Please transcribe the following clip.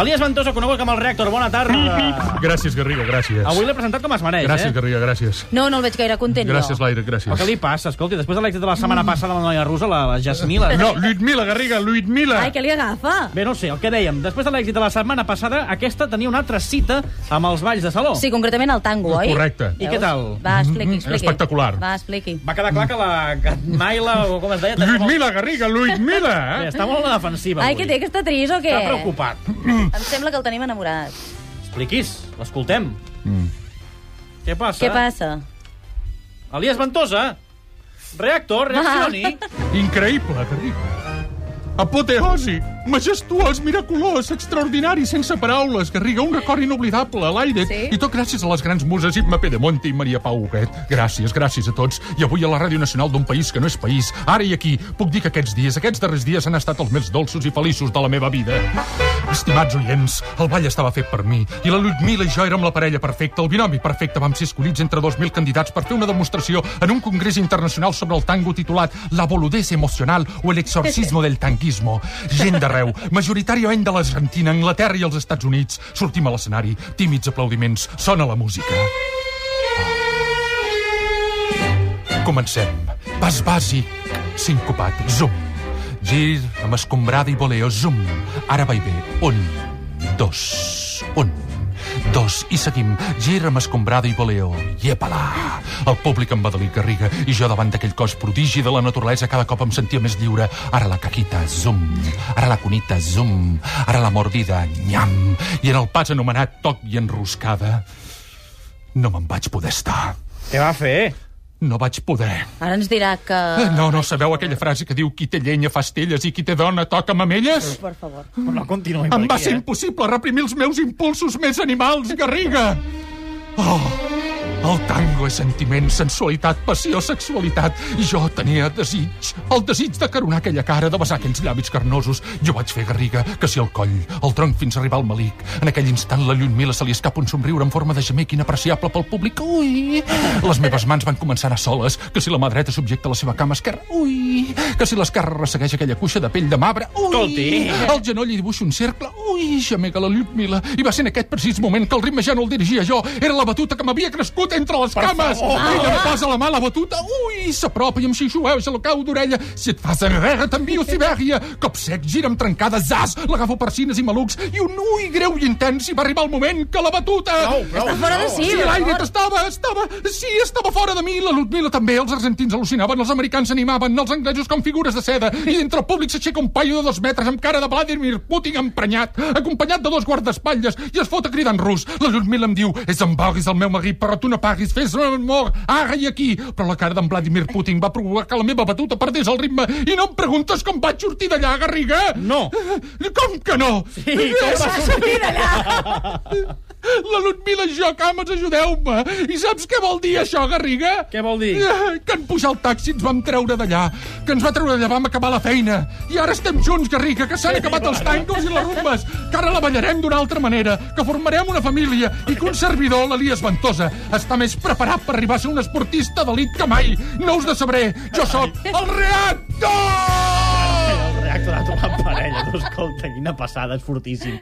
Elias Ventosa, conegut com el reactor. Bona tarda. Gràcies, Garriga, gràcies. Avui l'he presentat com es mereix, Gràcies, eh? Garriga, gràcies. No, no el veig gaire content, Gràcies, jo. Laire, gràcies. Però què li passa? Escolti, després de l'èxit de la setmana passada amb la noia russa, la, la Jasmila... No, Lluitmila, Garriga, Lluitmila! Ai, que li agafa. Bé, no ho sé, el que dèiem. Després de l'èxit de la setmana passada, aquesta tenia una altra cita amb els balls de saló. Sí, concretament el tango, oi? Correcte. I què tal? Va, expliqui, Mhm, expliqui. espectacular. Va, expliqui. Va quedar clar que la Gatmaila, o com es deia... tenia molt- Lluitmila, Garriga, Lluitmila! Bé, Eh? està molt a la defensiva, Ai, avui. que té, que està trist o què? Està preocupat. Em sembla que el tenim enamorat. Expliquis, l'escoltem. Mm. Què passa? Què passa? Elias Ventosa, reactor, reaccioni. Ah. Increïble, Garriga. Apoteosi, majestuós, miraculós, extraordinari, sense paraules, Garriga, un record inoblidable a l'aire. Sí? I tot gràcies a les grans muses Imma Pedemonte i Maria Pau Huguet. Gràcies, gràcies a tots. I avui a la Ràdio Nacional d'un país que no és país, ara i aquí, puc dir que aquests dies, aquests darrers dies, han estat els més dolços i feliços de la meva vida. Estimats oients, el ball estava fet per mi, i la Ludmila i jo érem la parella perfecta, el binomi perfecte. Vam ser escollits entre 2.000 candidats per fer una demostració en un congrés internacional sobre el tango titulat La boludez emocional o el exorcismo del tanguismo. Gent d'arreu, majoritàriament de l'Argentina, Anglaterra i els Estats Units. Sortim a l'escenari, tímids aplaudiments, sona la música. Comencem. Pas bàsic, sincopat, zoom. Gir amb escombrada i voleo, zoom. Ara va i ve. Un, dos, un, dos. I seguim. Gir amb escombrada i voleo. Iepala! El públic em va delir Garriga i jo davant d'aquell cos prodigi de la naturalesa cada cop em sentia més lliure. Ara la caquita, zoom. Ara la cunita, zoom. Ara la mordida, nyam. I en el pas anomenat toc i enroscada, no me'n vaig poder estar. Què va fer? No vaig poder. Ara ens dirà que... No, no, sabeu aquella frase que diu qui té llenya fa estelles i qui té dona toca mamelles? Per favor. No continuï per Em va aquí, ser eh? impossible reprimir els meus impulsos més animals, Garriga! Oh, el tango és sentiment, sensualitat, passió, sexualitat. I jo tenia desig, el desig de caronar aquella cara, de besar aquells llavis carnosos. Jo vaig fer garriga, que si el coll, el tronc fins a arribar al malic. En aquell instant la Lluïmila se li escapa un somriure en forma de gemec inapreciable pel públic. Ui! Les meves mans van començar a anar soles, que si la mà dreta subjecta la seva cama esquerra. Ui! Que si l'esquerra ressegueix aquella cuixa de pell de marbre. Ui! Escolti. Al genoll hi dibuixa un cercle. Ui, gemega la Lluïmila. I va ser en aquest precís moment que el ritme ja no el dirigia jo. Era la batuta que m'havia crescut entre les per cames. favor. Ella em posa la mà a la batuta. Ui, s'apropa i em xixueu, se lo cau d'orella. Si et fas enrere, t'envio a Sibèria. Cop sec, gira amb trencada, zas. L'agafo per cines i malucs. I un ui greu i intens. I va arribar el moment que la batuta... Prou, prou, Està fora de prou. si. Sí, per l'aire favor. estava, estava, sí, estava fora de mi. La Ludmila també, els argentins al·lucinaven, els americans s'animaven, els anglesos com figures de seda, i entre el públic s'aixeca un paio de dos metres amb cara de Vladimir Putin emprenyat, acompanyat de dos guardaespatlles, i es fot a cridar en rus. La Ludmila em diu, és en vaguis el meu marit, però tu no paguis, fes un amor, ara i aquí. Però la cara d'en Vladimir Putin va provocar que la meva batuta perdés el ritme, i no em preguntes com vaig sortir d'allà, Garriga? No. Com que no? I com va sortir d'allà? La Ludmila i jo, cames, ajudeu-me. I saps què vol dir això, Garriga? Què vol dir? Eh, Que en pujar el taxi ens vam treure d'allà. Que ens va treure d'allà, vam acabar la feina. I ara estem junts, Garriga, que s'han acabat els tangos i les rumbes. Que ara la ballarem d'una altra manera. Que formarem una família. I que un servidor, l'Elias Ventosa, està més preparat per arribar a ser un esportista d'elit que mai. No us de sabré. Jo sóc el reactor! El reactor ha trobat parella. No, escolta, quina passada, és fortíssim.